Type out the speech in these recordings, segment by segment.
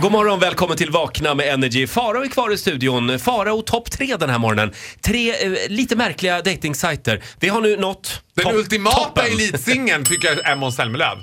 God morgon, välkommen till Vakna med Energy. Farao är kvar i studion. Farao topp tre den här morgonen. Tre eh, lite märkliga dejtingsajter. Det har nu nått Den topp- ultimata toppen. elitsingeln tycker jag är Måns Zelmerlöw.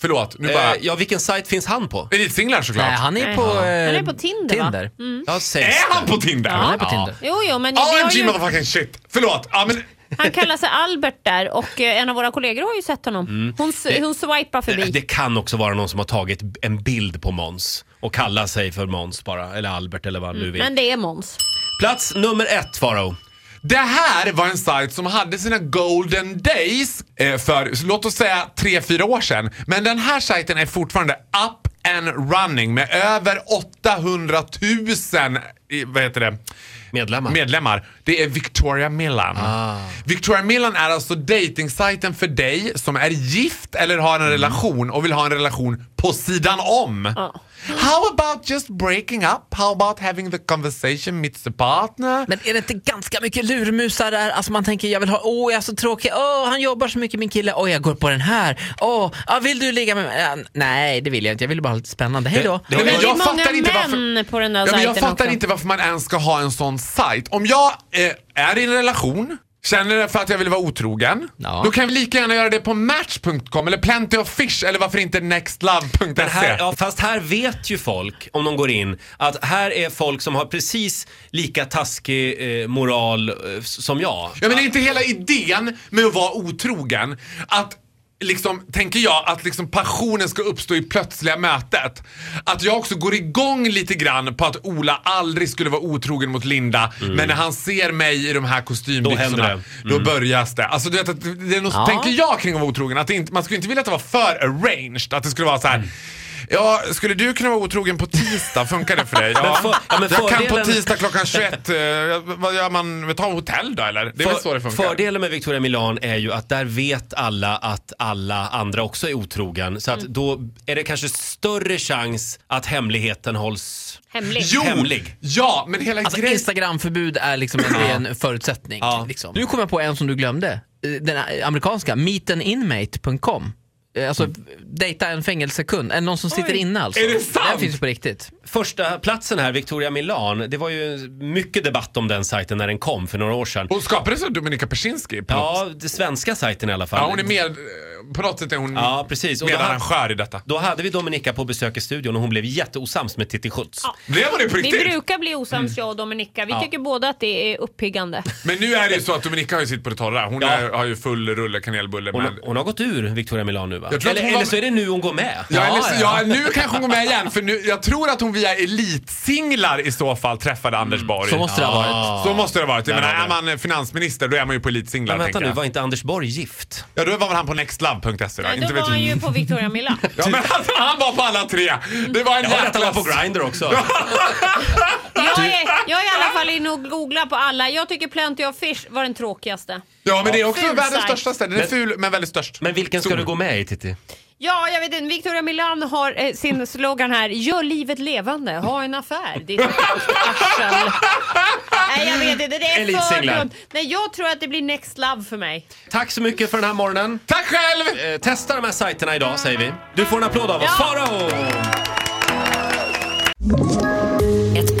Förlåt, nu bara... Eh, ja, vilken sajt finns han på? Elitsinglar såklart. Nej, han är på, eh, Han är på Tinder, va? Tinder. Ja, sägs Mm. Är han det. på Tinder? Han är på Tinder. Jo, jo, men vi har OMG ju, motherfucking shit. Förlåt. Ja, men... han kallar sig Albert där och eh, en av våra kollegor har ju sett honom. Mm. Hon, s- hon swipar förbi. Eh, Det kan också vara någon som har tagit en bild på Måns och kallar sig för Måns bara, eller Albert eller vad han Mm. nu vill. men det är Måns. Plats nummer ett, Farao. Det här var en sajt som hade sina golden days eh, för så låt oss säga 3-4 år sedan. Men den här sajten är fortfarande up and running med över 800 000 i- vad heter det? Medlemmar. Ah. medlemmar. Det är Victoria Millan. Victoria Millan är alltså datingsajten för dig som är gift eller har Mm. en relation och vill ha en relation på sidan om. How about just breaking up? How about having the conversation meets the partner? Men är det inte ganska mycket lurmusar där? Alltså man tänker, jag vill ha, åh jag är så tråkig, åh han jobbar så mycket min kille, åh jag går på den här, åh, ah, vill du ligga med mig? Ah, nej det vill jag inte, jag vill bara ha lite spännande, hej då. Det- Nej, det- men det är jag många fattar inte män varför- på den där Ja, men jag sajten fattar också. inte varför man ens ska ha en sån sajt. Om jag eh, är i en relation, känner för att jag vill vara otrogen, Ja. då kan vi lika gärna göra det på match.com eller plenty of fish eller varför inte nextlove.se. Men här, ja, fast här vet ju folk, om de går in, att här är folk som har precis lika taskig eh, moral eh, s- som jag. Ja men det är inte hela idén med att vara otrogen att Liksom, tänker jag att liksom passionen ska uppstå i plötsliga mötet. Att jag också går igång lite grann på att Ola aldrig skulle vara otrogen mot Linda. Men när han ser mig i de här kostymbyxorna, Mm. händer då, det. Mm. börjas det. Alltså, du vet att det är något, Ja. tänker jag kring att vara otrogen. Att det inte, man skulle inte vilja att det var för arranged. Att det skulle vara så här. Mm. Ja, skulle du kunna vara otrogen på tisdag? Funkar det för dig? Ja, Men för- ja, men jag kan på fördelen- tisdag klockan 21. eh, vad gör man? Ta hotell då eller? Det är väl så det funkar? fördelen med Victoria Milan är ju att där vet alla att alla andra också är otrogen. Så att då är det kanske större chans att hemligheten hålls... Hemlig. Jo! Hemlig. Ja, men hela Alltså grejen... Instagramförbud är liksom en, är en förutsättning. Ja. Liksom. Nu kommer jag på en som du glömde, Eh, den här amerikanska, meetaninmate.com. Eh, Alltså dejta en fängelsekund, Eh, någon som sitter inne alltså. är det sant? Den finns ju på riktigt. Första platsen här, Victoria Milan, det var ju mycket debatt om den sajten när den kom för några år sedan. Hon skapades av Dominika Persinski på något... Ja, den svenska sajten i alla fall. Ja, hon är med... På något sätt är hon Ja, precis. Och då, ha- medarrangör i detta. då hade vi Dominika på besök i studion och hon blev jätteosams med Titti Schultz. Ja. Blev hon det Mm. på Vi riktigt? brukar bli osams jag och Dominika. Vi tycker båda att det är uppiggande. Men nu är det ju så att Dominika har ju sitt på det torra. Hon Ja. är, har ju full rulle kanelbulle Hon, med... hon har gått ur Victoria Milan nu va? Jag tror att Eller, hon var- eller så är det nu hon går med. Ja, eller, Ja, så- ja. ja, nu kanske hon går med igen för nu, jag tror att hon via elitsinglar i så fall träffade Anders Borg. Så måste det ha varit. Mm. Ja. Så måste det ha varit. Jag Där menar, har är man finansminister då är man ju på elitsinglar Men vänta tänker nu, jag. var inte Anders Borg gift? Ja, då var väl han på nextlove.se E då? Nej, Inte Eh, då var vet han jag. ju på Victoria Milan. Ja, men alltså, han var på alla tre. Det var en Jag hörde att han Typ. var på jäkla- Grindr också. Jag är, jag är i alla fall inne och googlar på alla. Jag tycker Plenty of Fish var den tråkigaste. Ja, men det är också Ful världens sajt. största ställe. Den är ful, men väldigt störst. Men vilken ska Stor. du gå med i Titti? Ja, jag vet inte. Victoria Milan har eh, sin slogan här. Gör livet levande. Ha en affär. Ditt arsel. Nej, jag vet inte. Det är för Elitsinglar. dumt. Nej, jag tror att det blir next love för mig. Tack så mycket för den här morgonen. Tack själv! Eh, testa de här sajterna idag säger vi. Du får en applåd av oss. Ja. Farao! Ett